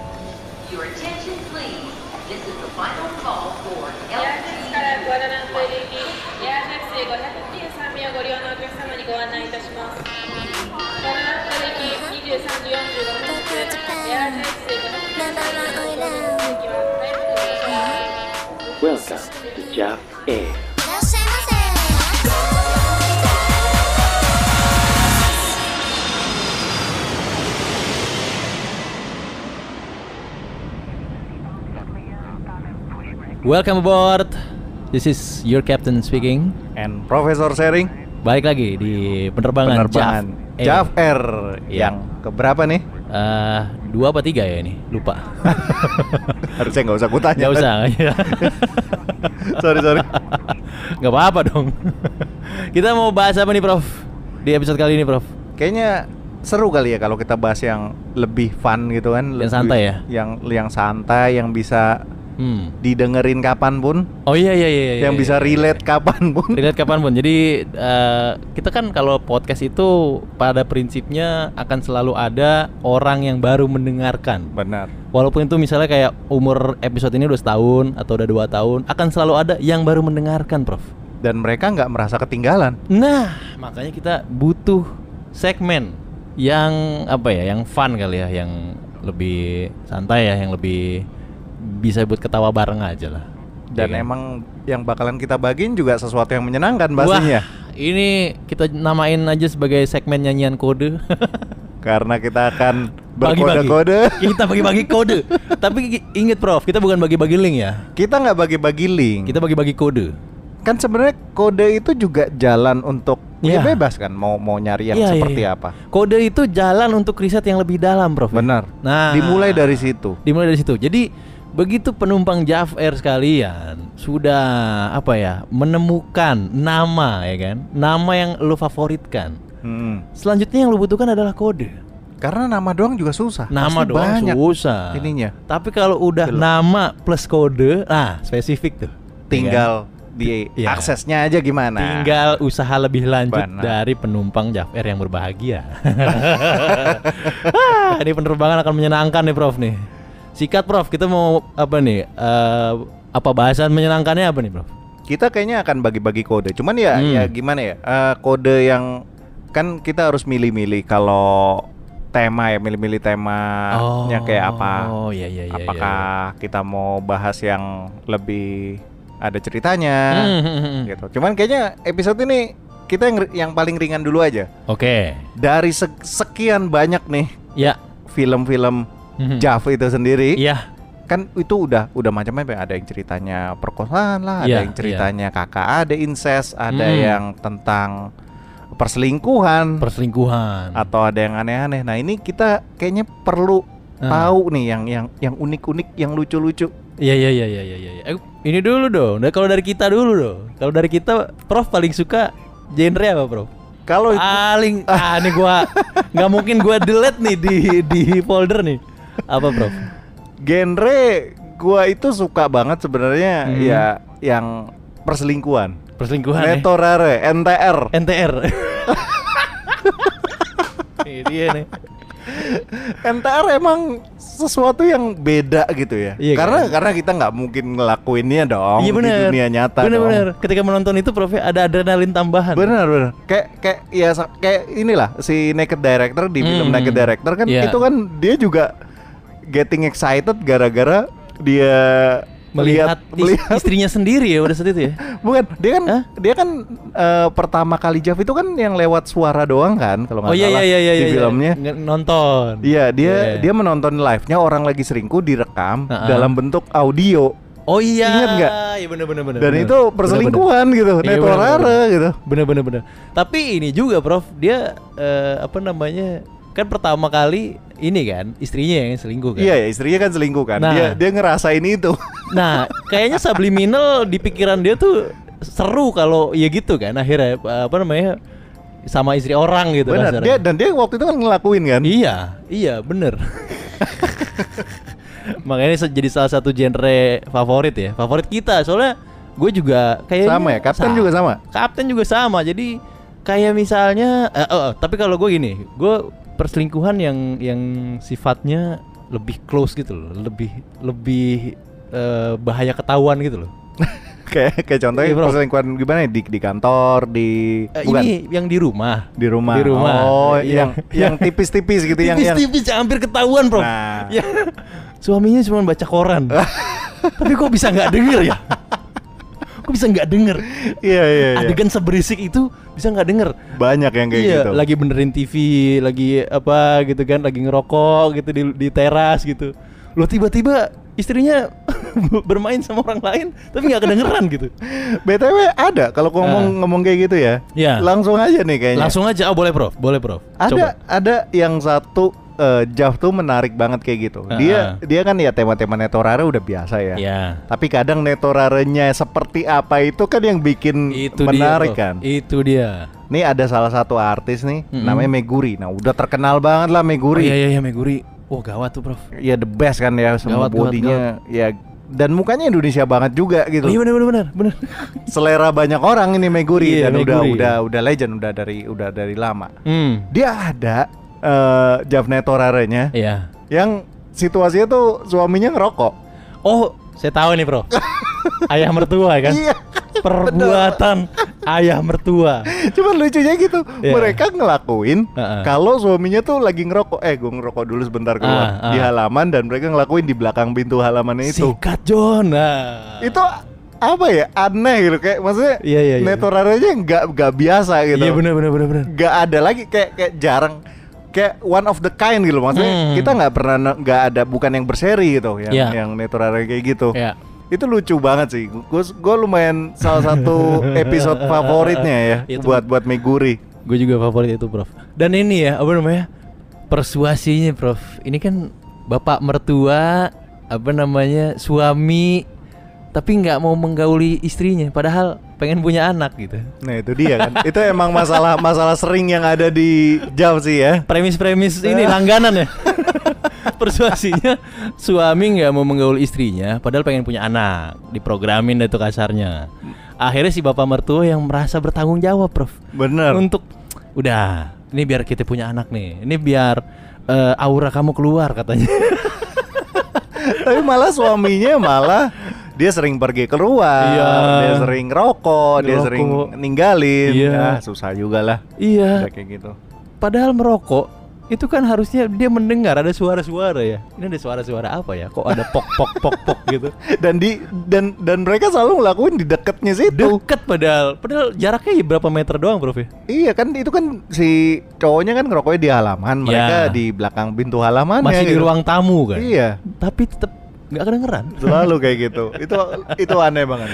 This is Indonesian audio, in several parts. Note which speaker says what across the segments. Speaker 1: uh, ご利用のお客様にご案内いたします。ご覧の駅23時45分発、エアースイカの駅は早くご利用ください。
Speaker 2: Welcome to
Speaker 3: い
Speaker 2: Jap Air.
Speaker 3: らっしゃいませ。
Speaker 4: Welcome aboard. This is your captain speaking.
Speaker 5: and Profesor Sharing
Speaker 4: Balik lagi di penerbangan,
Speaker 5: penerbangan
Speaker 4: Jav Air.
Speaker 5: Jav Air
Speaker 4: Iya.
Speaker 5: yang keberapa nih?
Speaker 4: Eh, dua apa tiga ya ini? Lupa.
Speaker 5: Harusnya nggak usah gue tanya.
Speaker 4: Gak usah.
Speaker 5: sorry sorry.
Speaker 4: Gak apa-apa dong. Kita mau bahas apa nih, Prof? Di episode kali ini, Prof.
Speaker 5: Kayaknya seru kali ya kalau kita bahas yang lebih fun gitu kan.
Speaker 4: Yang
Speaker 5: lebih-
Speaker 4: santai ya?
Speaker 5: Yang yang santai, yang bisa
Speaker 4: Hmm.
Speaker 5: didengerin kapanpun,
Speaker 4: Oh iya iya iya. iya,
Speaker 5: yang
Speaker 4: iya,
Speaker 5: bisa
Speaker 4: iya.
Speaker 5: relate kapanpun.
Speaker 4: Relate kapanpun. Jadi eh, kita kan kalau podcast itu pada prinsipnya akan selalu ada orang yang baru mendengarkan.
Speaker 5: Benar.
Speaker 4: Walaupun itu misalnya kayak umur episode ini udah setahun atau udah dua tahun, akan selalu ada yang baru mendengarkan, Prof.
Speaker 5: Dan mereka nggak merasa ketinggalan.
Speaker 4: Nah, makanya kita butuh segmen yang apa ya, yang fun kali ya, yang lebih santai ya, yang lebih bisa buat ketawa bareng aja lah.
Speaker 5: Dan
Speaker 4: Iya kan?
Speaker 5: emang yang bakalan kita bagiin juga sesuatu yang menyenangkan pastinya.
Speaker 4: Wah, ini kita namain aja sebagai segmen nyanyian kode.
Speaker 5: Karena kita akan
Speaker 4: Bagi-bagi.
Speaker 5: berkode-kode.
Speaker 4: Kita bagi-bagi kode. Tapi inget Prof, kita bukan bagi-bagi link ya.
Speaker 5: Kita nggak bagi-bagi link.
Speaker 4: Kita bagi-bagi kode.
Speaker 5: kan sebenarnya kode itu juga jalan untuk ya
Speaker 4: Iya.
Speaker 5: bebas kan mau mau nyari yang
Speaker 4: Iya, iya,
Speaker 5: seperti
Speaker 4: iya.
Speaker 5: apa
Speaker 4: Kode itu jalan untuk riset yang lebih dalam, Prof.
Speaker 5: benar
Speaker 4: Nah,
Speaker 5: dimulai dari situ
Speaker 4: dimulai dari situ. Jadi begitu penumpang Jav Air sekalian sudah apa ya menemukan nama ya kan, nama yang lo favoritkan.
Speaker 5: Mm-mm.
Speaker 4: Selanjutnya yang lo butuhkan adalah kode.
Speaker 5: Hmm. karena nama doang juga susah
Speaker 4: Nama
Speaker 5: Pasti
Speaker 4: doang
Speaker 5: banyak
Speaker 4: susah.
Speaker 5: ininya
Speaker 4: Tapi kalau udah
Speaker 5: Betul.
Speaker 4: nama plus kode, nah spesifik tuh. Ya kan?
Speaker 5: tinggal di
Speaker 4: Iya.
Speaker 5: aksesnya aja gimana
Speaker 4: tinggal usaha lebih lanjut
Speaker 5: Nah. Benar.
Speaker 4: dari penumpang Jav Air yang berbahagia. Ah, Ini penerbangan akan menyenangkan nih Prof nih. Sikat Prof, kita mau apa nih? eh, apa bahasan menyenangkannya apa nih Prof?
Speaker 5: kita kayaknya akan bagi-bagi kode cuman ya
Speaker 4: Hmm.
Speaker 5: ya gimana ya eh, kode yang kan kita harus milih-milih kalau tema ya milih-milih temanya kayak apa
Speaker 4: Oh iya iya iya. iya, iya.
Speaker 5: apakah kita mau bahas yang lebih ada ceritanya
Speaker 4: Hmm, hmm, hmm, hmm.
Speaker 5: gitu. Cuman kayaknya episode ini kita yang yang paling ringan dulu aja.
Speaker 4: Oke.
Speaker 5: Dari sek- sekian banyak nih
Speaker 4: Ya.
Speaker 5: film-film
Speaker 4: Mhm.
Speaker 5: Jav itu sendiri,
Speaker 4: Iya.
Speaker 5: kan itu udah udah macam-macam. ya. Ada yang ceritanya perkosaan lah, ada
Speaker 4: Iya,
Speaker 5: yang ceritanya kakak, ada incest, ada
Speaker 4: Hmm.
Speaker 5: yang tentang perselingkuhan
Speaker 4: Perselingkuhan.
Speaker 5: atau ada yang aneh-aneh. Nah, ini kita kayaknya perlu
Speaker 4: Ah.
Speaker 5: tahu nih yang yang yang unik-unik, yang lucu-lucu.
Speaker 4: Iya iya iya iya iya iya. Eh, ini dulu dong. Nah, kalau dari kita dulu dong. Kalau dari kita Prof paling suka genre apa Prof?
Speaker 5: Kalau itu
Speaker 4: paling ah ini gua nggak mungkin gua delete nih di di folder nih apa prof
Speaker 5: genre gua itu suka banget sebenarnya
Speaker 4: Hmm.
Speaker 5: ya yang perselingkuhan.
Speaker 4: perselingkuhan ya?
Speaker 5: Netorare, NTR.
Speaker 4: NTR ini Iya, dia nih
Speaker 5: NTR emang sesuatu yang beda gitu ya.
Speaker 4: Iya
Speaker 5: karena
Speaker 4: kan?
Speaker 5: karena kita nggak mungkin ngelakuinnya dong
Speaker 4: iya benar
Speaker 5: di dunia nyata
Speaker 4: benar
Speaker 5: dong.
Speaker 4: benar ketika menonton itu prof ya, ada adrenalin tambahan
Speaker 5: Benar benar. Kayak kayak ya sa- kayak inilah si Naked Director di film
Speaker 4: Hmm.
Speaker 5: Naked Director kan
Speaker 4: Iya.
Speaker 5: itu kan dia juga getting excited gara-gara dia
Speaker 4: melihat,
Speaker 5: lihat-
Speaker 4: is-
Speaker 5: melihat
Speaker 4: istrinya sendiri ya udah saat itu ya
Speaker 5: Bukan, dia kan
Speaker 4: Hah?
Speaker 5: dia kan eh, pertama kali Jav itu kan yang lewat suara doang kan kalau
Speaker 4: oh
Speaker 5: nggak
Speaker 4: iya
Speaker 5: salah
Speaker 4: iya iya iya
Speaker 5: di
Speaker 4: iya.
Speaker 5: filmnya.
Speaker 4: Nge- nonton
Speaker 5: Iya, dia
Speaker 4: Iya, iya.
Speaker 5: dia menonton live-nya orang lagi selingkuh direkam
Speaker 4: Heeh.
Speaker 5: dalam bentuk audio.
Speaker 4: oh iya
Speaker 5: Ingat nggak?
Speaker 4: iya benar benar benar
Speaker 5: Dan
Speaker 4: benar.
Speaker 5: itu
Speaker 4: Benar, benar.
Speaker 5: perselingkuhan gitu,
Speaker 4: Iya,
Speaker 5: neto
Speaker 4: benar,
Speaker 5: rara
Speaker 4: benar.
Speaker 5: gitu.
Speaker 4: Bener bener bener. Tapi ini juga Prof, dia eh, apa namanya? Kan pertama kali ini kan istrinya yang selingkuh kan.
Speaker 5: Iya, ya, istrinya kan selingkuh kan.
Speaker 4: Nah.
Speaker 5: Dia dia ngerasain itu.
Speaker 4: Nah, kayaknya subliminal di pikiran dia tuh seru kalau ya gitu kan akhirnya eh, apa namanya? sama istri orang gitu
Speaker 5: Benar.
Speaker 4: kasarnya.
Speaker 5: Dia dan dia waktu itu kan ngelakuin kan.
Speaker 4: Iya, iya bener. Makanya se- jadi salah satu genre favorit ya, favorit kita. Soalnya gue juga kayaknya
Speaker 5: Sama ya, Kapten juga sama?
Speaker 4: Kapten juga sama. Jadi kayak misalnya, eh, oh, oh, tapi kalau gue gini, gue perselingkuhan yang yang sifatnya lebih close gitu loh, lebih lebih eh, bahaya ketahuan gitu loh.
Speaker 5: kayak kayak contohnya
Speaker 4: Iya, bro.
Speaker 5: perselingkuhan gimana ya? di di kantor di
Speaker 4: Eh,
Speaker 5: bukan
Speaker 4: ini yang di rumah.
Speaker 5: di rumah
Speaker 4: Di rumah.
Speaker 5: oh
Speaker 4: Iya.
Speaker 5: yang yang tipis-tipis gitu yang yang
Speaker 4: Tipis-tipis hampir ketahuan, Bro.
Speaker 5: Nah.
Speaker 4: Ya. Suaminya cuma baca koran. Tapi kok bisa nggak denger ya? kok bisa nggak denger?
Speaker 5: iya iya iya.
Speaker 4: Adegan seberisik itu bisa nggak denger?
Speaker 5: banyak yang kayak
Speaker 4: iya,
Speaker 5: gitu
Speaker 4: lagi benerin TV, lagi apa gitu kan, lagi ngerokok gitu di, di teras gitu. Lo tiba-tiba istrinya bermain sama orang lain, tapi nggak kedengeran gitu.
Speaker 5: btw ada kalau ngomong
Speaker 4: Ah.
Speaker 5: ngomong kayak gitu ya
Speaker 4: Iya.
Speaker 5: langsung aja nih kayaknya
Speaker 4: Langsung aja, oh, boleh prof, boleh prof.
Speaker 5: ada ada yang satu eh, Jav tuh menarik banget kayak gitu. Dia
Speaker 4: Ah.
Speaker 5: dia kan ya tema-tema Netorare udah biasa ya.
Speaker 4: Ya.
Speaker 5: Tapi kadang netorarenya seperti apa itu kan yang bikin
Speaker 4: Itu
Speaker 5: menarik
Speaker 4: dia, Prof.
Speaker 5: kan.
Speaker 4: Itu dia.
Speaker 5: Nih ada salah satu artis nih
Speaker 4: Mm-mm.
Speaker 5: namanya Meguri. Nah, udah terkenal banget lah
Speaker 4: Oh, iya
Speaker 5: Meguri.
Speaker 4: iya iya Meguri. Wah gawat tuh Prof.
Speaker 5: Ya the best kan ya semua
Speaker 4: Gawat, gawat,
Speaker 5: bodinya ya dan mukanya Indonesia banget juga gitu.
Speaker 4: Oh, iya benar benar benar benar.
Speaker 5: Selera banyak orang ini Meguri
Speaker 4: Iya,
Speaker 5: dan udah
Speaker 4: Meguri.
Speaker 5: udah udah legend udah dari udah dari lama.
Speaker 4: Hmm.
Speaker 5: Dia ada eh Jav netorarenya
Speaker 4: Iya.
Speaker 5: yang situasinya tuh suaminya ngerokok.
Speaker 4: Oh, saya tahu nih, Prof. Ayah mertua kan?
Speaker 5: Iya.
Speaker 4: Perbuatan ayah mertua.
Speaker 5: Cuman lucunya gitu,
Speaker 4: Iya.
Speaker 5: mereka ngelakuin
Speaker 4: Heeh.
Speaker 5: kalau suaminya tuh lagi ngerokok, eh gue ngerokok dulu sebentar keluar
Speaker 4: Ah, ah.
Speaker 5: di halaman dan mereka ngelakuin di belakang pintu halamannya Nah, itu.
Speaker 4: Sikat John. Nah.
Speaker 5: Itu apa ya aneh gitu kayak maksudnya
Speaker 4: Iya, iya, iya.
Speaker 5: netorarenya nggak nggak biasa gitu.
Speaker 4: Iya benar benar benar benar.
Speaker 5: Nggak ada lagi kayak kayak jarang kayak one of the kind gitu maksudnya
Speaker 4: Hmm.
Speaker 5: kita nggak pernah nggak ada bukan yang berseri gitu yang
Speaker 4: Iya.
Speaker 5: yang netorare kayak gitu
Speaker 4: Iya.
Speaker 5: itu lucu banget sih gue gue lumayan salah satu episode favoritnya ya
Speaker 4: Itu.
Speaker 5: buat buat Meguri
Speaker 4: Gue juga favorit itu, Prof. Dan ini ya, apa namanya? Persuasinya, Prof. Ini kan bapak mertua, apa namanya? Suami tapi nggak mau menggauli istrinya padahal pengen punya anak gitu.
Speaker 5: Nah itu dia kan. itu emang masalah masalah sering yang ada di jam sih ya.
Speaker 4: premis-premis ini langganan ya persuasinya suami nggak mau menggaul istrinya padahal pengen punya anak diprogramin deh itu kasarnya akhirnya si bapak mertua yang merasa bertanggung jawab prof
Speaker 5: Bener.
Speaker 4: untuk udah ini biar kita punya anak nih ini biar eh, aura kamu keluar katanya
Speaker 5: Tapi malah suaminya malah dia sering pergi keluar,
Speaker 4: Iya.
Speaker 5: dia sering rokok, dia
Speaker 4: Ngerokok.
Speaker 5: sering ninggalin.
Speaker 4: Iya.
Speaker 5: Ah, susah juga lah.
Speaker 4: iya
Speaker 5: Udah kayak gitu.
Speaker 4: padahal merokok itu kan harusnya dia mendengar ada suara-suara ya ini ada suara-suara apa ya kok ada pok pok pok pok gitu
Speaker 5: Dan di dan dan mereka selalu ngelakuin di deketnya situ.
Speaker 4: deket padahal padahal jaraknya ya berapa meter doang prof ya
Speaker 5: Iya kan itu kan si cowoknya kan ngerokoknya di halaman, mereka
Speaker 4: Iya.
Speaker 5: di belakang pintu halaman
Speaker 4: masih di ruang tamu kan
Speaker 5: gitu. Iya.
Speaker 4: tapi tetap nggak kedengeran
Speaker 5: Selalu kayak gitu. itu itu aneh banget.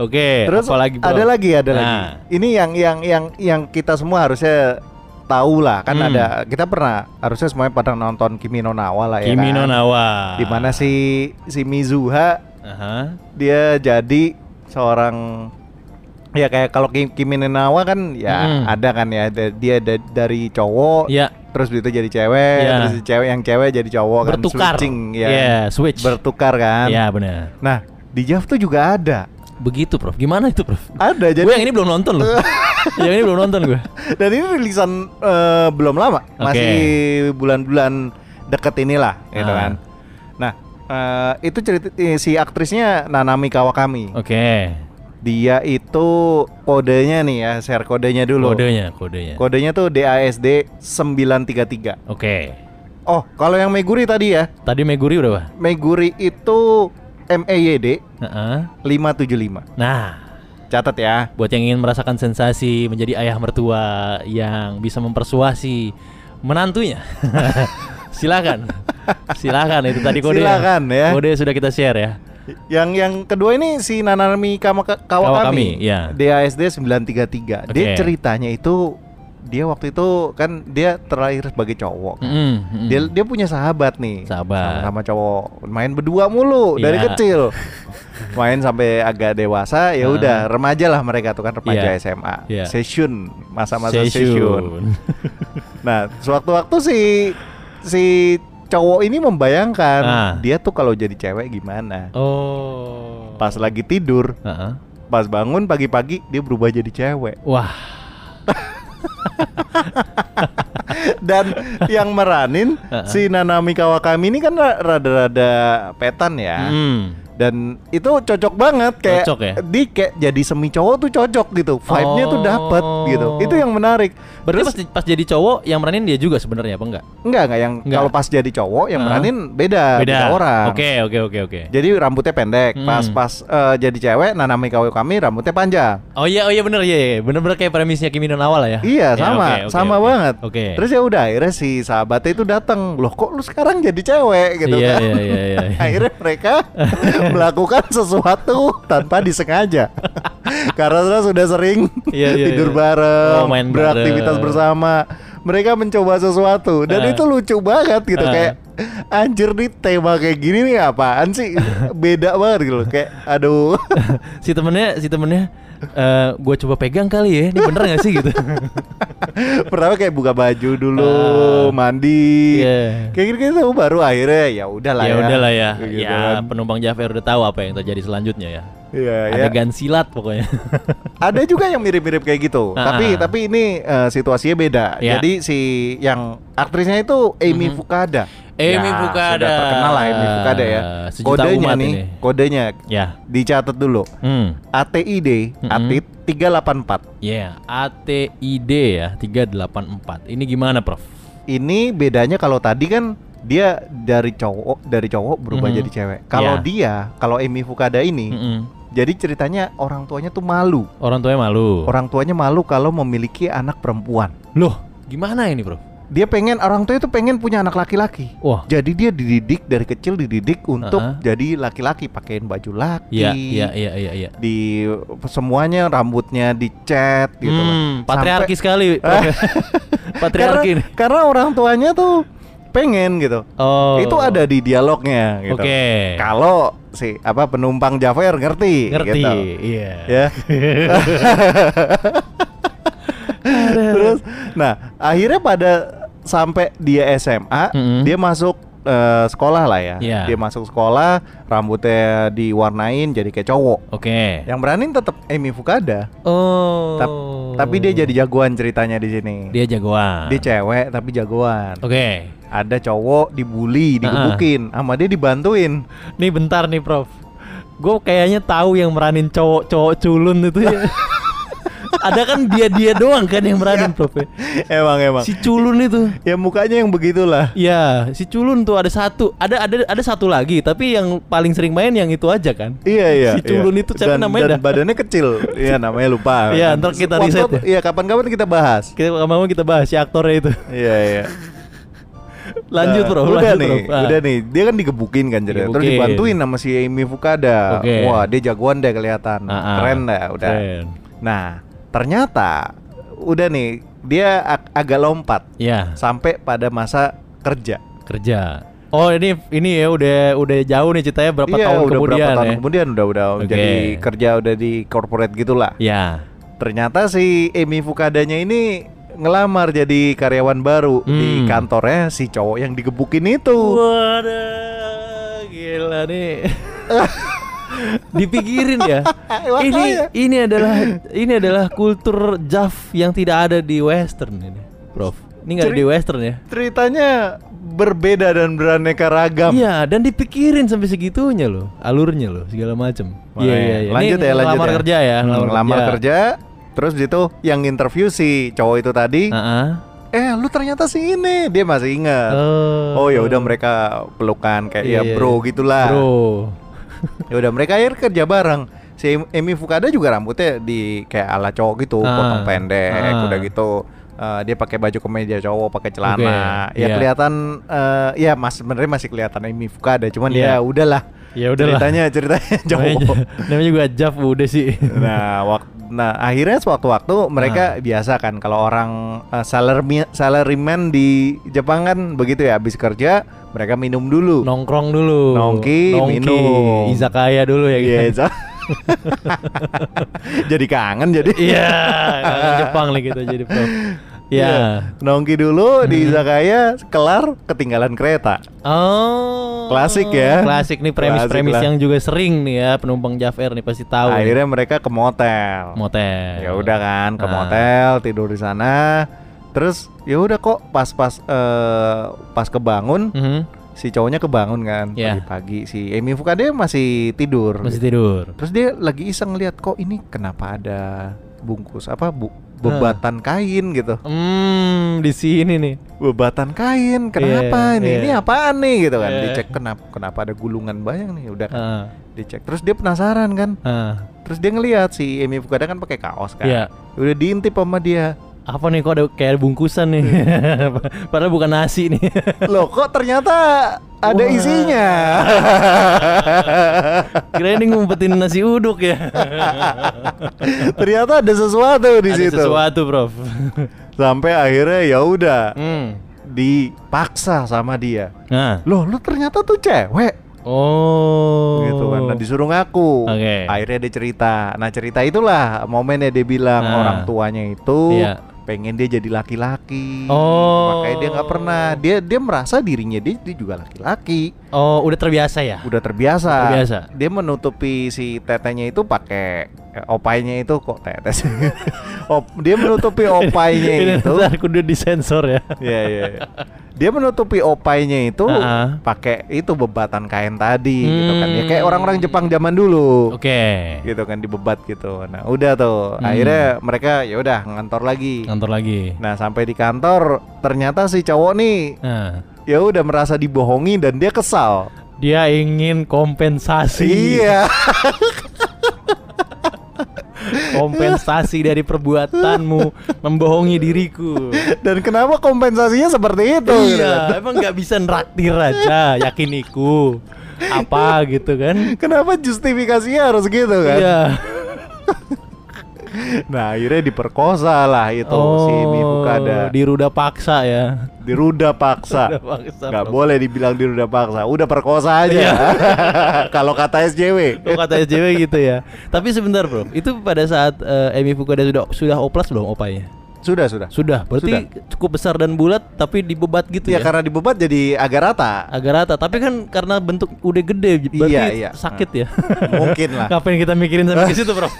Speaker 4: oke
Speaker 5: Terus
Speaker 4: apa lagi Bro?
Speaker 5: ada lagi ada
Speaker 4: Nah.
Speaker 5: lagi. Ini yang yang yang yang kita semua harusnya tahu lah kan
Speaker 4: Hmm.
Speaker 5: ada kita pernah harusnya semuanya pada nonton Kimi no Na wa lah ya
Speaker 4: Kimi
Speaker 5: kan.
Speaker 4: no Nawa
Speaker 5: Di mana si si Mizuha
Speaker 4: Aha.
Speaker 5: dia jadi seorang ya kayak kalau Ki- Kimi no Na wa kan ya
Speaker 4: Hmm.
Speaker 5: ada kan ya da- dia da- dari cowok
Speaker 4: ya
Speaker 5: terus itu jadi cewek
Speaker 4: Ya.
Speaker 5: terus si cewek yang cewek jadi cowok
Speaker 4: bertukar
Speaker 5: kan switching ya
Speaker 4: Ya, switch
Speaker 5: bertukar kan.
Speaker 4: ya benar
Speaker 5: Nah, di Jav tuh juga ada.
Speaker 4: begitu prof gimana itu prof
Speaker 5: Ada jadi
Speaker 4: gue yang ini belum nonton loh yang ini belum nonton gue
Speaker 5: Dan ini rilisan eh, belum lama,
Speaker 4: Oke.
Speaker 5: masih bulan-bulan deket inilah, gitu
Speaker 4: Ah.
Speaker 5: kan. Nah, eh, itu cerita eh, si aktrisnya Nanami Kawakami.
Speaker 4: oke
Speaker 5: Dia itu kodenya nih ya, share kodenya dulu.
Speaker 4: kodenya kodenya oke
Speaker 5: Kodenya tuh DASD 933. Oh, kalau yang Meguri tadi ya,
Speaker 4: tadi Meguri udah apa
Speaker 5: Meguri itu E MEYD
Speaker 4: Heeh.
Speaker 5: 575.
Speaker 4: nah
Speaker 5: Catat ya.
Speaker 4: buat yang ingin merasakan sensasi menjadi ayah mertua yang bisa mempersuasi menantunya silakan silakan itu tadi kode
Speaker 5: Silakan ya.
Speaker 4: kode sudah kita share ya
Speaker 5: Yang yang kedua ini si Nanami Kawakami,
Speaker 4: Kawakami, ya.
Speaker 5: DASD 933.
Speaker 4: Oke.
Speaker 5: Dia ceritanya itu dia waktu itu kan dia terlahir sebagai cowok. kan.
Speaker 4: Mm, mm.
Speaker 5: Dia dia punya sahabat nih.
Speaker 4: Sahabat.
Speaker 5: Sama cowok. Main berdua mulu dari
Speaker 4: Iya.
Speaker 5: kecil. Main sampai agak dewasa ya
Speaker 4: Ah.
Speaker 5: udah remaja lah mereka tuh kan
Speaker 4: Iya.
Speaker 5: remaja SMA.
Speaker 4: Iya.
Speaker 5: Session, masa-masa
Speaker 4: Session.
Speaker 5: session. Nah, sewaktu-waktu si si cowok ini membayangkan
Speaker 4: Ah.
Speaker 5: dia tuh kalau jadi cewek gimana.
Speaker 4: oh
Speaker 5: Pas lagi tidur,
Speaker 4: Heeh.
Speaker 5: pas bangun pagi-pagi dia berubah jadi cewek.
Speaker 4: wah
Speaker 5: Dan yang meranin si Nanami Kawakami ini kan ra- rada-rada petan ya.
Speaker 4: mm.
Speaker 5: Dan itu cocok banget kayak
Speaker 4: Cocok ya?
Speaker 5: di kayak jadi semi cowok tuh cocok gitu. Vibe-nya tuh dapet gitu.
Speaker 4: Oh.
Speaker 5: Itu yang menarik.
Speaker 4: Berarti
Speaker 5: Terus-
Speaker 4: pas, pas jadi cowok yang meranin dia juga sebenarnya apa enggak?
Speaker 5: Enggak, enggak yang
Speaker 4: Enggak.
Speaker 5: kalau pas jadi cowok
Speaker 4: Ah.
Speaker 5: yang meranin beda, beda orang.
Speaker 4: Oke, oke, oke, oke.
Speaker 5: Jadi rambutnya pendek,
Speaker 4: Hmm.
Speaker 5: pas-pas eh, jadi cewek Nanami Kawi kami rambutnya panjang.
Speaker 4: Oh iya, oh iya bener iya, iya. bener-bener kayak premisnya Kimi no Na wa lah ya.
Speaker 5: Iya,
Speaker 4: Ya,
Speaker 5: sama,
Speaker 4: oke, oke,
Speaker 5: sama
Speaker 4: oke.
Speaker 5: banget.
Speaker 4: Oke.
Speaker 5: Terus ya udah akhirnya si sahabatnya itu datang. Loh, kok lu sekarang jadi cewek gitu
Speaker 4: Iya,
Speaker 5: kan.
Speaker 4: iya, iya, iya.
Speaker 5: akhirnya mereka melakukan sesuatu tanpa disengaja. Karena terus sudah sering
Speaker 4: Iya, iya,
Speaker 5: tidur
Speaker 4: iya.
Speaker 5: bareng,
Speaker 4: Oh, main
Speaker 5: beraktivitas
Speaker 4: bareng.
Speaker 5: bersama. Mereka mencoba sesuatu dan
Speaker 4: Ah.
Speaker 5: itu lucu banget gitu
Speaker 4: Ah.
Speaker 5: kayak anjir nih tema kayak gini nih apaan sih? Beda banget gitu loh kayak aduh.
Speaker 4: si temennya, si temennya, eh gue coba pegang kali ya, ini bener gak sih gitu?
Speaker 5: Pertama kayak buka baju dulu,
Speaker 4: Ah.
Speaker 5: mandi.
Speaker 4: Iya.
Speaker 5: Kayak gitu, gitu baru akhirnya ya udahlah
Speaker 4: ya
Speaker 5: ya.
Speaker 4: udahlah ya,
Speaker 5: Kayak gitu
Speaker 4: ya
Speaker 5: kan.
Speaker 4: penumpang Jafer udah tahu apa yang terjadi selanjutnya ya.
Speaker 5: Iya, ya.
Speaker 4: Adegan silat pokoknya.
Speaker 5: Ada juga yang mirip-mirip kayak gitu.
Speaker 4: Ah.
Speaker 5: Tapi tapi ini eh, situasinya beda.
Speaker 4: Iya.
Speaker 5: Jadi si yang aktrisnya itu Amy Fukada.
Speaker 4: Mhm.
Speaker 5: Ya,
Speaker 4: Amy Fukuda.
Speaker 5: Sudah terkenal lah Amy Fukada ya.
Speaker 4: Sejuta
Speaker 5: Kodenya
Speaker 4: umat
Speaker 5: nih,
Speaker 4: ini.
Speaker 5: kodenya
Speaker 4: ya, Mhm.
Speaker 5: dicatat dulu.
Speaker 4: hmm,
Speaker 5: ATID,
Speaker 4: Mm-mm.
Speaker 5: ATID 384.
Speaker 4: ya, ATID ya, 384. Ini gimana, Prof?
Speaker 5: Ini bedanya kalau tadi kan dia dari cowok dari cowok berubah
Speaker 4: Mhm.
Speaker 5: jadi cewek. Kalau
Speaker 4: Iya.
Speaker 5: dia, kalau Amy Fukada ini
Speaker 4: Mm-mm.
Speaker 5: Jadi ceritanya orang tuanya tuh malu.
Speaker 4: Orang tuanya malu.
Speaker 5: Orang tuanya malu kalau memiliki anak perempuan.
Speaker 4: Loh, gimana ini, Prof?
Speaker 5: Dia pengen orang tuanya tuh pengen punya anak laki-laki.
Speaker 4: Wah.
Speaker 5: Jadi dia dididik dari kecil dididik untuk
Speaker 4: Uh-huh.
Speaker 5: jadi laki-laki, pakaiin baju laki.
Speaker 4: Iya, iya, iya, iya, iya.
Speaker 5: Di semuanya rambutnya dicat gitu loh.
Speaker 4: Hmm, patriarki
Speaker 5: Sampai-
Speaker 4: sekali. Prof. patriarki.
Speaker 5: Karena,
Speaker 4: nih.
Speaker 5: karena orang tuanya tuh pengen gitu.
Speaker 4: Oh.
Speaker 5: Itu ada di dialognya gitu.
Speaker 4: Oke.
Speaker 5: Kalau si apa penumpang Javier ngerti
Speaker 4: Ngerti.
Speaker 5: gitu.
Speaker 4: Iya.
Speaker 5: ya. Terus, nah akhirnya pada sampai dia SMA,
Speaker 4: Mm-mm.
Speaker 5: dia masuk eh, sekolah lah ya.
Speaker 4: Iya.
Speaker 5: Dia masuk sekolah, rambutnya diwarnain jadi kayak cowok.
Speaker 4: Oke.
Speaker 5: Yang berani tetap Amy Fukada,
Speaker 4: Oh.
Speaker 5: tap- tapi dia jadi jagoan ceritanya di sini.
Speaker 4: dia jagoan.
Speaker 5: Dia cewek tapi jagoan.
Speaker 4: Nah. Oke.
Speaker 5: Ada cowok dibully,
Speaker 4: Ah-ah.
Speaker 5: digebukin, sama dia dibantuin.
Speaker 4: Nih bentar nih, Prof. Gue kayaknya tahu yang meranin cowok-cowok culun itu ya. ada kan dia-dia doang kan yang
Speaker 5: Iya.
Speaker 4: meranin, Prof. ya?
Speaker 5: emang emang.
Speaker 4: Si culun itu.
Speaker 5: Ya mukanya yang begitulah.
Speaker 4: Iya, si culun tuh ada satu, ada ada ada satu lagi, tapi yang paling sering main yang itu aja kan.
Speaker 5: Iya iya.
Speaker 4: Si culun
Speaker 5: iya.
Speaker 4: itu siapa
Speaker 5: Dan-
Speaker 4: namanya
Speaker 5: dan
Speaker 4: dah?
Speaker 5: badannya kecil. Iya namanya lupa.
Speaker 4: Iya, ntar kita
Speaker 5: Waktu-
Speaker 4: riset ya.
Speaker 5: Iya kapan-kapan kita bahas.
Speaker 4: Kita mau kita bahas si aktornya itu.
Speaker 5: Iya iya.
Speaker 4: Lanjut,
Speaker 5: Nah,
Speaker 4: Bro.
Speaker 5: Udah
Speaker 4: lanjut,
Speaker 5: nih,
Speaker 4: Prof. Ah.
Speaker 5: udah nih. Dia kan digebukin kan jadi. Terus
Speaker 4: Digebukin.
Speaker 5: dibantuin sama si Amy Fukada.
Speaker 4: Oke.
Speaker 5: Wah, dia jagoan deh kelihatan.
Speaker 4: Ah, ah.
Speaker 5: Keren dah udah.
Speaker 4: Keren.
Speaker 5: Nah, ternyata udah nih dia ag- agak lompat
Speaker 4: Ya,
Speaker 5: sampai pada masa kerja.
Speaker 4: kerja. Oh, ini ini ya udah udah jauh nih ceritanya berapa
Speaker 5: Iya,
Speaker 4: tahun
Speaker 5: udah
Speaker 4: kemudian
Speaker 5: berapa tahun
Speaker 4: ya.
Speaker 5: kemudian udah udah
Speaker 4: Oke.
Speaker 5: jadi kerja udah di corporate gitulah.
Speaker 4: Ya.
Speaker 5: Ternyata si Emi Fukadanya ini ngelamar jadi karyawan baru di
Speaker 4: Hmm.
Speaker 5: kantornya si cowok yang digebukin itu.
Speaker 4: Waduh, gila nih. Dipikirin ya.
Speaker 5: Iya, Makanya.
Speaker 4: ini ini adalah ini adalah kultur Jav yang tidak ada di western ini, Prof. Ini nggak ada
Speaker 5: Ceri-
Speaker 4: di western ya.
Speaker 5: Ceritanya berbeda dan beraneka ragam.
Speaker 4: Iya, dan dipikirin sampai segitunya loh, alurnya loh, segala macam.
Speaker 5: Makanya. Lanjut
Speaker 4: Iya, Ini
Speaker 5: ya, lanjut
Speaker 4: ngelamar
Speaker 5: ya.
Speaker 4: kerja ya,
Speaker 5: Hmm, ngelamar kerja. Terus gitu yang interview si cowok itu tadi,
Speaker 4: Heeh.
Speaker 5: eh lu ternyata si ini. Dia masih ingat.
Speaker 4: Oh.
Speaker 5: Oh ya udah mereka pelukan kayak
Speaker 4: Iya.
Speaker 5: ya bro gitulah.
Speaker 4: Bro.
Speaker 5: Ya udah mereka akhir kerja bareng. Si Em- Emi Fukada juga rambutnya di kayak ala cowok gitu,
Speaker 4: Ah,
Speaker 5: potong pendek,
Speaker 4: ah.
Speaker 5: udah gitu. Eh, dia pakai baju kemeja cowok, pakai celana.
Speaker 4: Oke,
Speaker 5: Ya
Speaker 4: iya.
Speaker 5: kelihatan, eh, ya mas sebenarnya masih kelihatan Emi Fukada, cuman
Speaker 4: Iya.
Speaker 5: ya udahlah.
Speaker 4: Ya udahlah. Oh, iya.
Speaker 5: Ceritanya ceritanya
Speaker 4: Namanya,
Speaker 5: cowok.
Speaker 4: namanya juga Jav udah sih.
Speaker 5: nah, wak- nah akhirnya sewaktu-waktu
Speaker 4: Ah.
Speaker 5: mereka biasa kan kalau orang eh, salary salaryman di Jepang kan begitu ya, habis kerja mereka minum dulu.
Speaker 4: Nongkrong dulu.
Speaker 5: Nongki, minum.
Speaker 4: Izakaya dulu ya
Speaker 5: Iya,
Speaker 4: gitu.
Speaker 5: Za. jadi kangen jadi.
Speaker 4: Iya, kangen Jepang lah gitu jadi Prof. Iya. Hmm.
Speaker 5: Nongki dulu di izakaya, kelar ketinggalan kereta.
Speaker 4: Oh.
Speaker 5: Klasik ya.
Speaker 4: Klasik nih premis-premis
Speaker 5: Klasik lah.
Speaker 4: yang juga sering nih ya penumpang Jav Air nih pasti tahu. nih.
Speaker 5: Akhirnya mereka ke motel.
Speaker 4: motel.
Speaker 5: Ya udah kan, ke
Speaker 4: Ah.
Speaker 5: motel, tidur di sana. Terus ya udah kok pas-pas eh, pas kebangun
Speaker 4: Mhm.
Speaker 5: si cowoknya kebangun kan
Speaker 4: Iya.
Speaker 5: pagi-pagi si Emi Fukade masih tidur
Speaker 4: Masih
Speaker 5: gitu.
Speaker 4: tidur.
Speaker 5: terus dia lagi iseng lihat kok ini kenapa ada bungkus apa bu bebatan kain gitu
Speaker 4: Hmm, di sini nih.
Speaker 5: bebatan kain
Speaker 4: Iya,
Speaker 5: kenapa ini
Speaker 4: iya.
Speaker 5: ini apaan nih gitu kan
Speaker 4: Iya.
Speaker 5: dicek kenapa kenapa ada gulungan banyak nih udah kan.
Speaker 4: Heeh.
Speaker 5: dicek terus dia penasaran kan
Speaker 4: heeh.
Speaker 5: terus dia ngelihat si Emi Fukada kan pakai kaos kan
Speaker 4: Iya.
Speaker 5: udah diintip sama dia
Speaker 4: Apa nih kok ada kayak ada bungkusan nih? Padahal bukan nasi nih.
Speaker 5: loh kok ternyata
Speaker 4: Wah.
Speaker 5: ada isinya
Speaker 4: Kirain ini ngumpetin nasi uduk ya.
Speaker 5: ternyata ada sesuatu di
Speaker 4: ada
Speaker 5: situ
Speaker 4: sesuatu, Prof.
Speaker 5: sampai akhirnya ya udah
Speaker 4: hmm.
Speaker 5: dipaksa sama dia
Speaker 4: Nah.
Speaker 5: loh lu ternyata tuh cewek
Speaker 4: Oh.
Speaker 5: gitu kan nah, disuruh ngaku
Speaker 4: Oke.
Speaker 5: akhirnya dia cerita nah cerita itulah momennya dia bilang
Speaker 4: Nah.
Speaker 5: orang tuanya itu
Speaker 4: Iya.
Speaker 5: pengen dia jadi laki-laki
Speaker 4: Oh.
Speaker 5: makanya dia nggak pernah dia dia merasa dirinya dia, dia juga laki-laki
Speaker 4: Oh, udah terbiasa ya?
Speaker 5: udah terbiasa.
Speaker 4: Udah terbiasa.
Speaker 5: Dia menutupi si tetenya itu pakai eh, opainya itu kok tete sih. Op, dia menutupi opainya itu.
Speaker 4: Ntar kudu disensor ya.
Speaker 5: Iya iya. iya. Dia menutupi opainya itu
Speaker 4: Ah.
Speaker 5: pakai itu bebatan kain tadi gitu kan. Ya kayak
Speaker 4: Hmm.
Speaker 5: orang-orang Jepang zaman dulu.
Speaker 4: Oke.
Speaker 5: Gitu kan dibebat gitu. Nah, udah tuh.
Speaker 4: Hmm.
Speaker 5: Akhirnya mereka ya udah ngantor lagi.
Speaker 4: Kantor lagi.
Speaker 5: Nah, sampai di kantor ternyata si cowok nih
Speaker 4: Nah,
Speaker 5: ya udah merasa dibohongi dan dia kesal.
Speaker 4: dia ingin kompensasi.
Speaker 5: Iya.
Speaker 4: Kompensasi dari perbuatanmu membohongi diriku.
Speaker 5: Dan kenapa kompensasinya seperti itu? gitu kan?
Speaker 4: iya, emang nggak bisa neraktir aja, yakiniku. Apa gitu kan?
Speaker 5: Kenapa justifikasinya harus gitu kan?
Speaker 4: Iya.
Speaker 5: Nah akhirnya diperkosa lah itu si Mifukada
Speaker 4: diruda Oh, paksa ya.
Speaker 5: Diruda paksa
Speaker 4: Diruda paksa,
Speaker 5: Gak
Speaker 4: Prof.
Speaker 5: boleh dibilang diruda paksa Udah perkosa aja
Speaker 4: Iya.
Speaker 5: Kalau kata SJW
Speaker 4: Kok kata SJW gitu ya. Tapi sebentar, Bro. Itu pada saat eh, Emi Fukada sudah sudah oplas belum opanya?
Speaker 5: Sudah sudah
Speaker 4: Sudah, berarti cukup besar dan bulat tapi dibebat gitu
Speaker 5: Ya
Speaker 4: ya.
Speaker 5: karena dibebat jadi agak rata
Speaker 4: Agak rata, tapi kan karena bentuk udah gede berarti
Speaker 5: Iya, iya.
Speaker 4: sakit ya.
Speaker 5: Mungkin lah
Speaker 4: Ngapain kita mikirin sampai ke situ, Bro?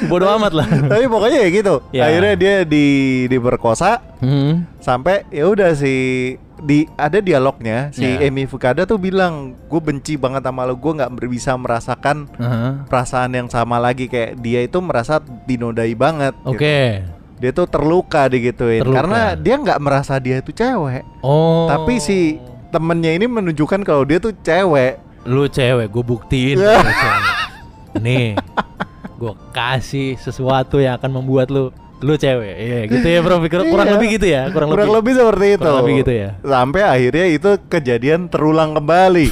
Speaker 4: Bodoh amat lah.
Speaker 5: Tapi pokoknya ya gitu
Speaker 4: Iya.
Speaker 5: Akhirnya dia di diperkosa
Speaker 4: Hmm.
Speaker 5: sampai ya udah si di ada dialognya si
Speaker 4: Ya.
Speaker 5: Emi Fukada tuh bilang gue benci banget sama lo gue nggak bisa merasakan
Speaker 4: Aha.
Speaker 5: perasaan yang sama lagi kayak dia itu merasa dinodai banget
Speaker 4: Oke.
Speaker 5: gitu. dia tuh terluka digituin
Speaker 4: Terluka.
Speaker 5: karena dia nggak merasa dia itu cewek
Speaker 4: Oh.
Speaker 5: tapi si temennya ini menunjukkan kalau dia tuh cewek
Speaker 4: lu cewek, gue buktiin. lu
Speaker 5: Iya.
Speaker 4: cewek. Nih, gue kasih sesuatu yang akan membuat lu lu cewek. Iya, gitu ya, Bro. Kurang, kurang
Speaker 5: Iya.
Speaker 4: lebih gitu ya, kurang,
Speaker 5: kurang
Speaker 4: lebih.
Speaker 5: lebih, seperti itu
Speaker 4: kurang lebih gitu ya.
Speaker 5: sampai akhirnya itu kejadian terulang kembali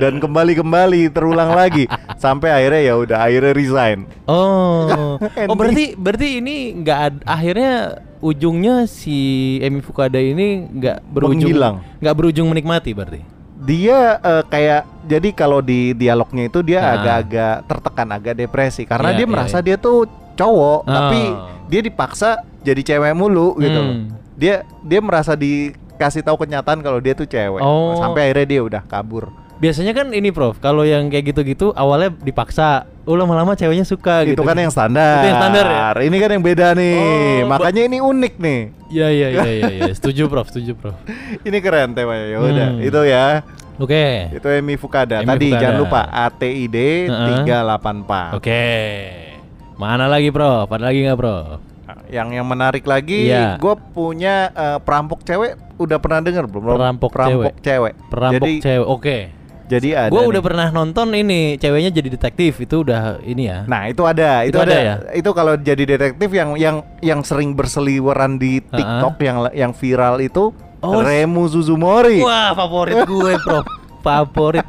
Speaker 5: dan kembali kembali terulang lagi sampai akhirnya ya udah akhirnya resign
Speaker 4: Oh. oh
Speaker 5: Ending.
Speaker 4: berarti berarti ini nggak ad- akhirnya ujungnya si Emi Fukada ini nggak berujung
Speaker 5: Menghilang.
Speaker 4: nggak berujung menikmati berarti.
Speaker 5: dia eh, kayak jadi kalau di dialognya itu dia
Speaker 4: Ah.
Speaker 5: agak-agak tertekan agak depresi karena
Speaker 4: Iya,
Speaker 5: dia
Speaker 4: iya,
Speaker 5: merasa dia tuh cowok
Speaker 4: Ah.
Speaker 5: tapi dia dipaksa jadi cewek mulu gitu
Speaker 4: Hmm.
Speaker 5: loh. dia dia merasa dikasih tahu kenyataan kalau dia tuh cewek
Speaker 4: Oh.
Speaker 5: sampai akhirnya dia udah kabur
Speaker 4: Biasanya kan ini Prof, kalau yang kayak gitu-gitu awalnya dipaksa, oh lama-lama ceweknya suka
Speaker 5: itu
Speaker 4: gitu.
Speaker 5: kan yang standar
Speaker 4: Itu yang standar ya?
Speaker 5: ini kan yang beda nih
Speaker 4: Oh,
Speaker 5: makanya ini unik nih
Speaker 4: Iya iya iya iya, iya. setuju Prof, setuju Prof.
Speaker 5: ini keren temanya ya udah
Speaker 4: Hmm.
Speaker 5: itu ya
Speaker 4: Oke.
Speaker 5: itu Emi Fukada
Speaker 4: Emi
Speaker 5: tadi
Speaker 4: Fukada.
Speaker 5: jangan lupa ATID
Speaker 4: Heeh.
Speaker 5: 384
Speaker 4: Oke. Mana lagi, Prof? Ada lagi nggak, Prof?
Speaker 5: Yang yang menarik lagi,
Speaker 4: Iya.
Speaker 5: gue punya eh, perampok cewek. Udah pernah denger belum? Belum.
Speaker 4: Perampok
Speaker 5: cewek.
Speaker 4: Perampok
Speaker 5: jadi,
Speaker 4: cewek. Oke.
Speaker 5: Jadi ada.
Speaker 4: Gua
Speaker 5: nih.
Speaker 4: udah pernah nonton ini, ceweknya jadi detektif. Itu udah ini ya.
Speaker 5: Nah itu ada, itu,
Speaker 4: Itu
Speaker 5: ada.
Speaker 4: ada ya?
Speaker 5: Itu kalau jadi detektif yang yang yang sering berseliweran di TikTok yang yang viral itu
Speaker 4: Oh, s-
Speaker 5: Remu Suzumori.
Speaker 4: Wah, favorit gue, Prof. favorit.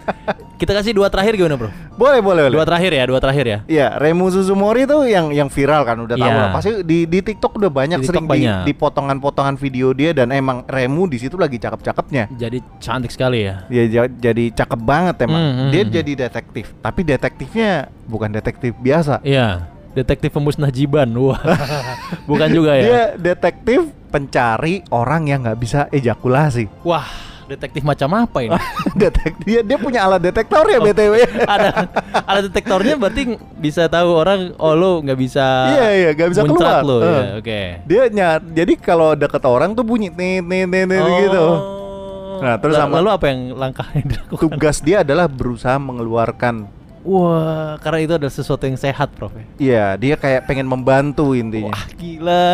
Speaker 4: Kita kasih dua terakhir gimana, Prof?
Speaker 5: Boleh boleh boleh.
Speaker 4: Dua terakhir ya, dua terakhir ya.
Speaker 5: Iya, Remu Suzumori itu yang yang viral kan udah tahu
Speaker 4: Iya.
Speaker 5: lah. Pasti di di TikTok udah banyak
Speaker 4: Di
Speaker 5: sering
Speaker 4: TikTok
Speaker 5: di-
Speaker 4: banyak.
Speaker 5: di potongan-potongan video dia dan emang Remu di situ lagi cakep-cakepnya.
Speaker 4: Jadi cantik sekali ya.
Speaker 5: Dia ja- jadi cakep banget emang.
Speaker 4: Hmm, hmm,
Speaker 5: dia
Speaker 4: hmm.
Speaker 5: jadi detektif, tapi detektifnya bukan detektif biasa.
Speaker 4: Iya, detektif pemusnah jiban. Wah. Bukan juga ya.
Speaker 5: Dia detektif pencari orang yang nggak bisa ejakulasi.
Speaker 4: Wah, detektif macam apa ini?
Speaker 5: Detek dia dia punya alat detektor ya btw.
Speaker 4: Oh. ada ada detektornya berarti bisa tahu orang oh lo nggak bisa
Speaker 5: Iya, iya, nggak bisa
Speaker 4: muncrat
Speaker 5: keluar.
Speaker 4: lo
Speaker 5: Eh.
Speaker 4: ya oke
Speaker 5: Dia nyar jadi kalau deket orang tuh bunyi nih nih nih nih gitu.
Speaker 4: Oh.
Speaker 5: Nah, terus
Speaker 4: Lalu-
Speaker 5: sama
Speaker 4: lalu apa yang langkahnya dilakukan?
Speaker 5: tugas dia adalah berusaha mengeluarkan
Speaker 4: Wah, karena itu adalah sesuatu yang sehat, Prof. ya?
Speaker 5: Iya, dia kayak pengen membantu intinya.
Speaker 4: Wah, gila.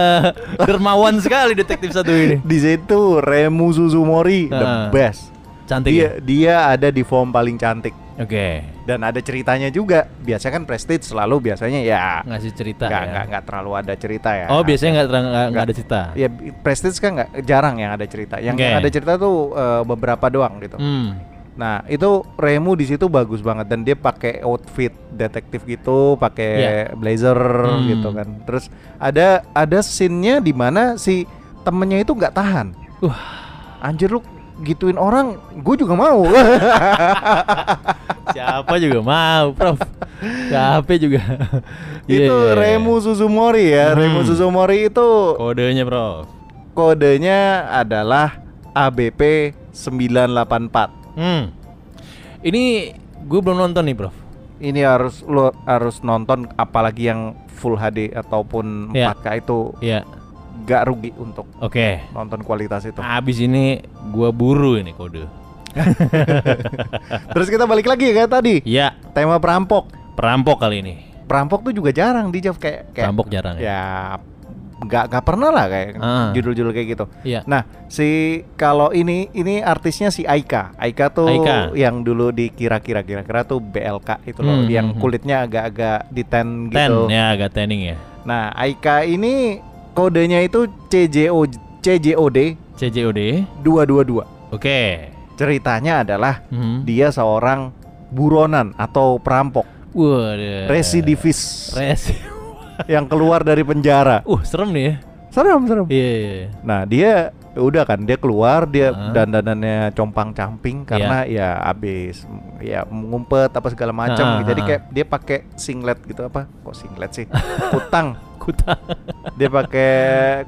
Speaker 4: Dermawan sekali detektif satu ini.
Speaker 5: Di situ Remu Suzumori the
Speaker 4: Heeh.
Speaker 5: best.
Speaker 4: Cantik. ya?
Speaker 5: Dia dia ada di form paling cantik
Speaker 4: Oke.
Speaker 5: dan ada ceritanya juga. Biasanya kan prestige selalu biasanya ya
Speaker 4: Ngasih cerita
Speaker 5: nggak
Speaker 4: ya.
Speaker 5: nggak nggak terlalu ada cerita ya.
Speaker 4: Oh, biasanya nggak terang- nggak nggak ada cerita.
Speaker 5: Ya prestige kan nggak jarang yang ada cerita. Yang,
Speaker 4: Oke.
Speaker 5: yang ada cerita tuh eh, beberapa doang gitu.
Speaker 4: Hmm.
Speaker 5: Nah, itu Remu di situ bagus banget dan dia pakai outfit detektif gitu, pakai
Speaker 4: Iya.
Speaker 5: blazer
Speaker 4: Hmm.
Speaker 5: gitu kan. Terus ada ada scene-nya di mana si temennya itu nggak tahan.
Speaker 4: Wah.
Speaker 5: Anjir lu gituin orang, gue juga mau.
Speaker 4: Siapa juga mau, Prof. Capek juga. Iya,
Speaker 5: itu
Speaker 4: iya, iya.
Speaker 5: Remu Suzumori ya. Remu
Speaker 4: Hmm.
Speaker 5: Suzumori itu
Speaker 4: kodenya, Prof.
Speaker 5: kodenya adalah ABP 984.
Speaker 4: Hmm. Ini gue belum nonton nih, Prof.
Speaker 5: Ini harus lu harus nonton apalagi yang full HD ataupun
Speaker 4: Iya.
Speaker 5: 4K itu
Speaker 4: Iya.
Speaker 5: gak rugi untuk
Speaker 4: Oke.
Speaker 5: nonton kualitas itu.
Speaker 4: Habis ini gua buru ini kode.
Speaker 5: Terus kita balik lagi ya kayak tadi.
Speaker 4: Ya,
Speaker 5: Tema perampok.
Speaker 4: perampok kali ini.
Speaker 5: Perampok tuh juga jarang di Jav kayak, kayak
Speaker 4: Perampok jarang ya.
Speaker 5: ya nggak nggak pernah lah kayak
Speaker 4: Ah.
Speaker 5: judul-judul kayak gitu.
Speaker 4: Iya.
Speaker 5: Nah, si kalau ini ini artisnya si Aika. Aika tuh
Speaker 4: Aika.
Speaker 5: yang dulu dikira-kira kira-kira tuh BLK itu loh
Speaker 4: Hmm,
Speaker 5: yang
Speaker 4: hmm, hmm.
Speaker 5: kulitnya agak-agak
Speaker 4: Ten
Speaker 5: diten gitu.
Speaker 4: ya agak tanning ya.
Speaker 5: Nah, Aika ini kodenya itu CJO CJOD
Speaker 4: CJOD.
Speaker 5: 222.
Speaker 4: Oke.
Speaker 5: Ceritanya adalah
Speaker 4: Mhm.
Speaker 5: dia seorang buronan atau perampok
Speaker 4: Waduh.
Speaker 5: residivis
Speaker 4: Resi.
Speaker 5: yang keluar dari penjara.
Speaker 4: Uh, serem nih ya.
Speaker 5: Serem, serem.
Speaker 4: Iya, iya, iya.
Speaker 5: Nah, dia udah kan dia keluar dia
Speaker 4: Heeh. Iya.
Speaker 5: dandanannya compang-camping karena ya abis ya ngumpet apa segala macam.
Speaker 4: Heeh,
Speaker 5: Jadi
Speaker 4: heeh.
Speaker 5: kayak dia pakai singlet gitu apa? Kok singlet sih? Kutang.
Speaker 4: Kuta.
Speaker 5: Dia pakai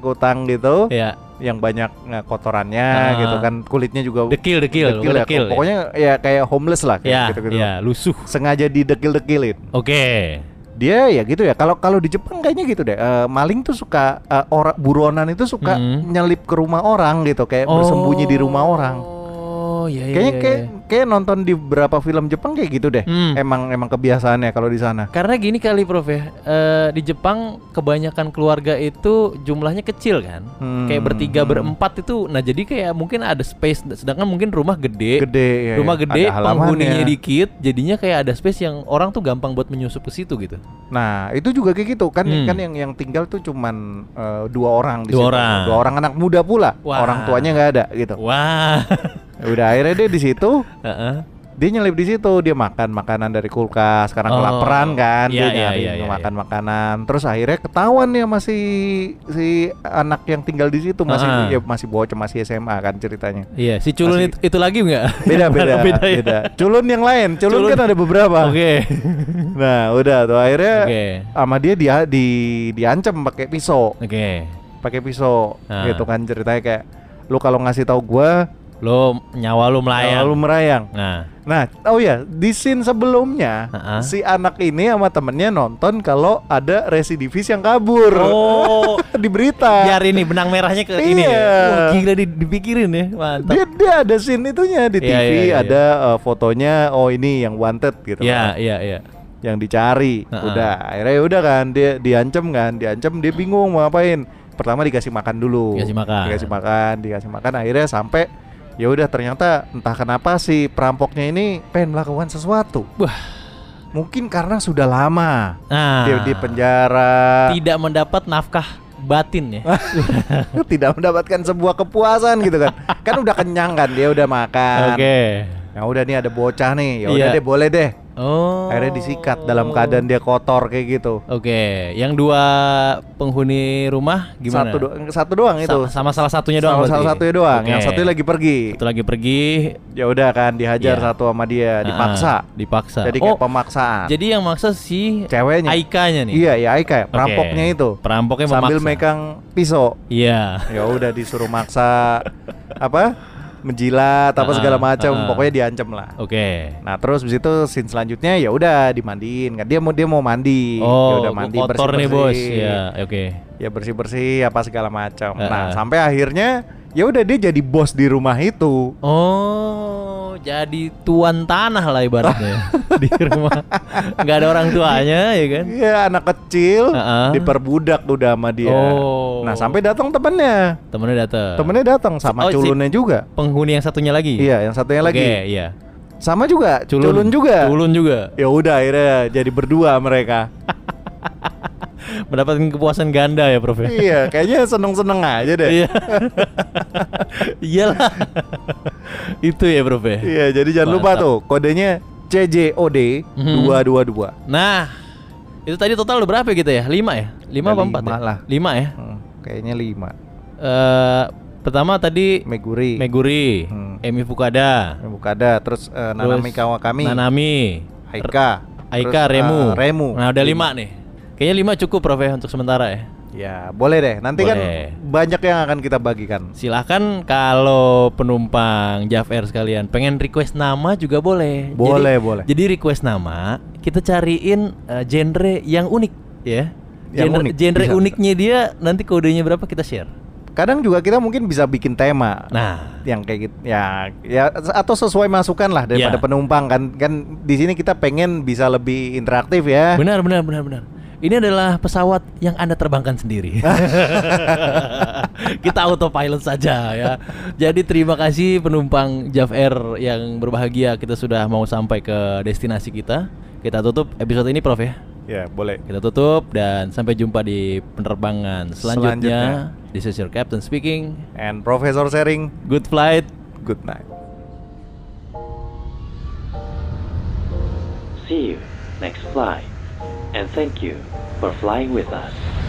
Speaker 5: kutang gitu
Speaker 4: ya.
Speaker 5: yang banyak eh, kotorannya
Speaker 4: Heeh.
Speaker 5: gitu kan. Kulitnya juga
Speaker 4: Dekil, dekil,
Speaker 5: dekil
Speaker 4: bukan
Speaker 5: ya.
Speaker 4: dekil. ya.
Speaker 5: Pokoknya ya kayak homeless lah kayak
Speaker 4: ya,
Speaker 5: gitu-gitu.
Speaker 4: ya, lusuh.
Speaker 5: Sengaja didekil-dekilin.
Speaker 4: Oke.
Speaker 5: dia ya gitu ya kalau kalau di Jepang kayaknya gitu deh Eh, maling tuh suka eh, orang buronan itu suka
Speaker 4: Hmm.
Speaker 5: nyelip ke rumah orang gitu kayak bersembunyi di rumah orang
Speaker 4: Oh, iya iya.
Speaker 5: kayaknya
Speaker 4: iya,
Speaker 5: kayak,
Speaker 4: iya.
Speaker 5: kayak nonton di beberapa film Jepang kayak gitu deh
Speaker 4: Hmm.
Speaker 5: emang emang kebiasaannya kalau di sana
Speaker 4: Karena gini kali Prof ya, eh, di Jepang kebanyakan keluarga itu jumlahnya kecil kan,
Speaker 5: Hmm.
Speaker 4: kayak bertiga berempat itu, nah jadi kayak mungkin ada space, sedangkan mungkin rumah gede,
Speaker 5: gede ya,
Speaker 4: rumah
Speaker 5: ya.
Speaker 4: gede,
Speaker 5: Ada halamannya.
Speaker 4: penghuninya dikit, jadinya kayak ada space yang orang tuh gampang buat menyusup ke situ gitu.
Speaker 5: nah itu juga kayak gitu kan
Speaker 4: Hmm.
Speaker 5: kan yang yang tinggal tuh cuman eh, dua orang di
Speaker 4: Dua
Speaker 5: situ.
Speaker 4: orang.
Speaker 5: dua orang anak muda pula
Speaker 4: Wah.
Speaker 5: orang tuanya nggak ada gitu
Speaker 4: Wah,
Speaker 5: udah akhirnya dia di situ
Speaker 4: Heeh.
Speaker 5: dia nyelip di situ dia makan makanan dari kulkas karena
Speaker 4: Oh.
Speaker 5: kelaparan kan
Speaker 4: Iya,
Speaker 5: dia
Speaker 4: iya,
Speaker 5: nyari
Speaker 4: iya, iya,
Speaker 5: makan makanan terus akhirnya ketahuan nih sama si si anak yang tinggal di situ masih
Speaker 4: Ah.
Speaker 5: ya masih bocah masih SMA kan ceritanya
Speaker 4: iya si culun itu,
Speaker 5: Masih-
Speaker 4: itu lagi nggak?
Speaker 5: beda beda beda,
Speaker 4: ya?
Speaker 5: culun yang lain culun,
Speaker 4: Culun.
Speaker 5: kan ada beberapa
Speaker 4: Oke,
Speaker 5: nah udah tuh akhirnya
Speaker 4: oke,
Speaker 5: sama dia dia di diancam pakai pisau
Speaker 4: oke.
Speaker 5: pakai pisau
Speaker 4: Ah.
Speaker 5: gitu kan ceritanya kayak lu kalau ngasih tahu gua
Speaker 4: Lo nyawa lo melayang.
Speaker 5: lu merayang
Speaker 4: Nah,
Speaker 5: Nah, oh ya, di scene sebelumnya
Speaker 4: Ha-ha.
Speaker 5: si anak ini sama temennya nonton kalau ada residivis yang kabur.
Speaker 4: Oh.
Speaker 5: di berita.
Speaker 4: biar ini benang merahnya ke ini. ya.
Speaker 5: Iya.
Speaker 4: Wah, gila di- dipikirin ya, mantap.
Speaker 5: Dia, dia ada scene itunya di
Speaker 4: Iya,
Speaker 5: TV
Speaker 4: iya, iya.
Speaker 5: ada eh, fotonya oh ini yang wanted gitu
Speaker 4: Iya,
Speaker 5: kan.
Speaker 4: iya, iya.
Speaker 5: Yang dicari.
Speaker 4: Ha-ha.
Speaker 5: Udah, akhirnya udah kan dia diancam kan, diancam dia bingung mau ngapain. Pertama dikasih makan dulu.
Speaker 4: Dikasih makan.
Speaker 5: Dikasih makan, dikasih makan akhirnya sampai ya udah ternyata entah kenapa si perampoknya ini pengen melakukan sesuatu.
Speaker 4: Wah.
Speaker 5: Mungkin karena sudah lama
Speaker 4: Nah,
Speaker 5: dia di penjara
Speaker 4: tidak mendapat nafkah batin ya.
Speaker 5: tidak mendapatkan sebuah kepuasan gitu kan kan udah kenyang kan dia udah makan ya udah nih ada bocah nih ya udah
Speaker 4: Iya.
Speaker 5: deh boleh deh
Speaker 4: Oh.
Speaker 5: akhirnya disikat dalam keadaan dia kotor kayak gitu
Speaker 4: Oke, yang dua penghuni rumah gimana?
Speaker 5: satu doang satu doang
Speaker 4: Sa-
Speaker 5: itu
Speaker 4: sama salah satunya doang.
Speaker 5: sama salah
Speaker 4: berarti?
Speaker 5: satunya doang yang
Speaker 4: Oke.
Speaker 5: satunya lagi pergi
Speaker 4: Satu lagi pergi
Speaker 5: ya udah kan dihajar
Speaker 4: Iya.
Speaker 5: satu sama dia
Speaker 4: Ah,
Speaker 5: dipaksa
Speaker 4: dipaksa.
Speaker 5: jadi
Speaker 4: oh,
Speaker 5: kayak pemaksaan
Speaker 4: jadi yang maksa si
Speaker 5: ceweknya
Speaker 4: Aika-nya nih.
Speaker 5: iya ya Aika
Speaker 4: Oke.
Speaker 5: perampoknya itu
Speaker 4: Perampoknya
Speaker 5: sambil
Speaker 4: memaksa.
Speaker 5: megang pisau
Speaker 4: Iya.
Speaker 5: ya udah disuruh maksa apa menjilat apa
Speaker 4: Ah,
Speaker 5: segala macam
Speaker 4: ah.
Speaker 5: pokoknya diancam lah
Speaker 4: Oke.
Speaker 5: nah terus habis itu scene selanjutnya ya udah dimandiin kan dia mau dia mau mandi ya
Speaker 4: Oh,
Speaker 5: udah
Speaker 4: gua kotor nih bos. Iya, oke.
Speaker 5: ya bersih bersih Ya, apa segala macam
Speaker 4: Ah,
Speaker 5: nah
Speaker 4: ah.
Speaker 5: sampai akhirnya ya udah dia jadi bos di rumah itu
Speaker 4: Oh, jadi tuan tanah lah ibaratnya di rumah. Nggak ada orang tuanya ya kan?
Speaker 5: Iya anak kecil
Speaker 4: Heeh.
Speaker 5: diperbudak udah sama dia
Speaker 4: Oh.
Speaker 5: nah sampai datang temennya
Speaker 4: Temennya datang.
Speaker 5: temennya datang sama
Speaker 4: Oh, si-
Speaker 5: culunnya juga
Speaker 4: penghuni yang satunya lagi.
Speaker 5: iya yang satunya
Speaker 4: Oke,
Speaker 5: lagi
Speaker 4: iya.
Speaker 5: sama juga culun, juga
Speaker 4: Culun juga.
Speaker 5: ya udah akhirnya jadi berdua mereka
Speaker 4: Mendapatkan kepuasan ganda ya, Prof. ya?
Speaker 5: iya kayaknya seneng seneng aja deh
Speaker 4: Iya. Iyalah. Itu ya, Prof. ya?
Speaker 5: Iya, jadi jangan lupa
Speaker 4: Mantap. Mhm.
Speaker 5: tuh kodenya CJOD 222.
Speaker 4: Nah, itu tadi total udah berapa ya kita ya? 5 ya? 5
Speaker 5: Ya,
Speaker 4: apa 4
Speaker 5: lima
Speaker 4: ya?
Speaker 5: lah.
Speaker 4: 5 ya?
Speaker 5: Hmm, kayaknya 5.
Speaker 4: Eh, pertama tadi
Speaker 5: Meguri,
Speaker 4: Meguri,
Speaker 5: Hmm.
Speaker 4: Emi Fukada,
Speaker 5: Bukada, terus eh, Nanami
Speaker 4: Terus
Speaker 5: Kawakami,
Speaker 4: Nanami,
Speaker 5: Aika,
Speaker 4: Aika,
Speaker 5: terus,
Speaker 4: Remu.
Speaker 5: eh, Remu.
Speaker 4: Nah, ada 5 nih. Kayaknya 5 cukup Prof ya untuk sementara ya.
Speaker 5: Ya, boleh deh. Nanti
Speaker 4: Boleh.
Speaker 5: kan banyak yang akan kita bagikan.
Speaker 4: Silahkan kalau penumpang Jav Air sekalian pengen request nama juga boleh.
Speaker 5: Boleh,
Speaker 4: jadi,
Speaker 5: boleh.
Speaker 4: Jadi request nama, kita cariin eh, genre yang unik ya.
Speaker 5: Yang
Speaker 4: genre
Speaker 5: unik,
Speaker 4: genre
Speaker 5: bisa.
Speaker 4: uniknya dia nanti kodenya berapa kita share.
Speaker 5: Kadang juga kita mungkin bisa bikin tema.
Speaker 4: Nah,
Speaker 5: yang kayak gitu ya ya atau sesuai masukan lah
Speaker 4: Ya.
Speaker 5: daripada penumpang kan kan di sini kita pengen bisa lebih interaktif ya
Speaker 4: benar benar benar benar. Ini adalah pesawat yang Anda terbangkan sendiri. kita autopilot saja ya. Jadi terima kasih penumpang Jav Air yang berbahagia kita sudah mau sampai ke destinasi kita. Kita tutup episode ini Prof ya.
Speaker 5: ya boleh
Speaker 4: Kita tutup dan sampai jumpa di penerbangan selanjutnya. This is your captain speaking.
Speaker 5: and professor sharing
Speaker 4: Good flight.
Speaker 5: good night
Speaker 2: See you next flight, and thank you for flying with us.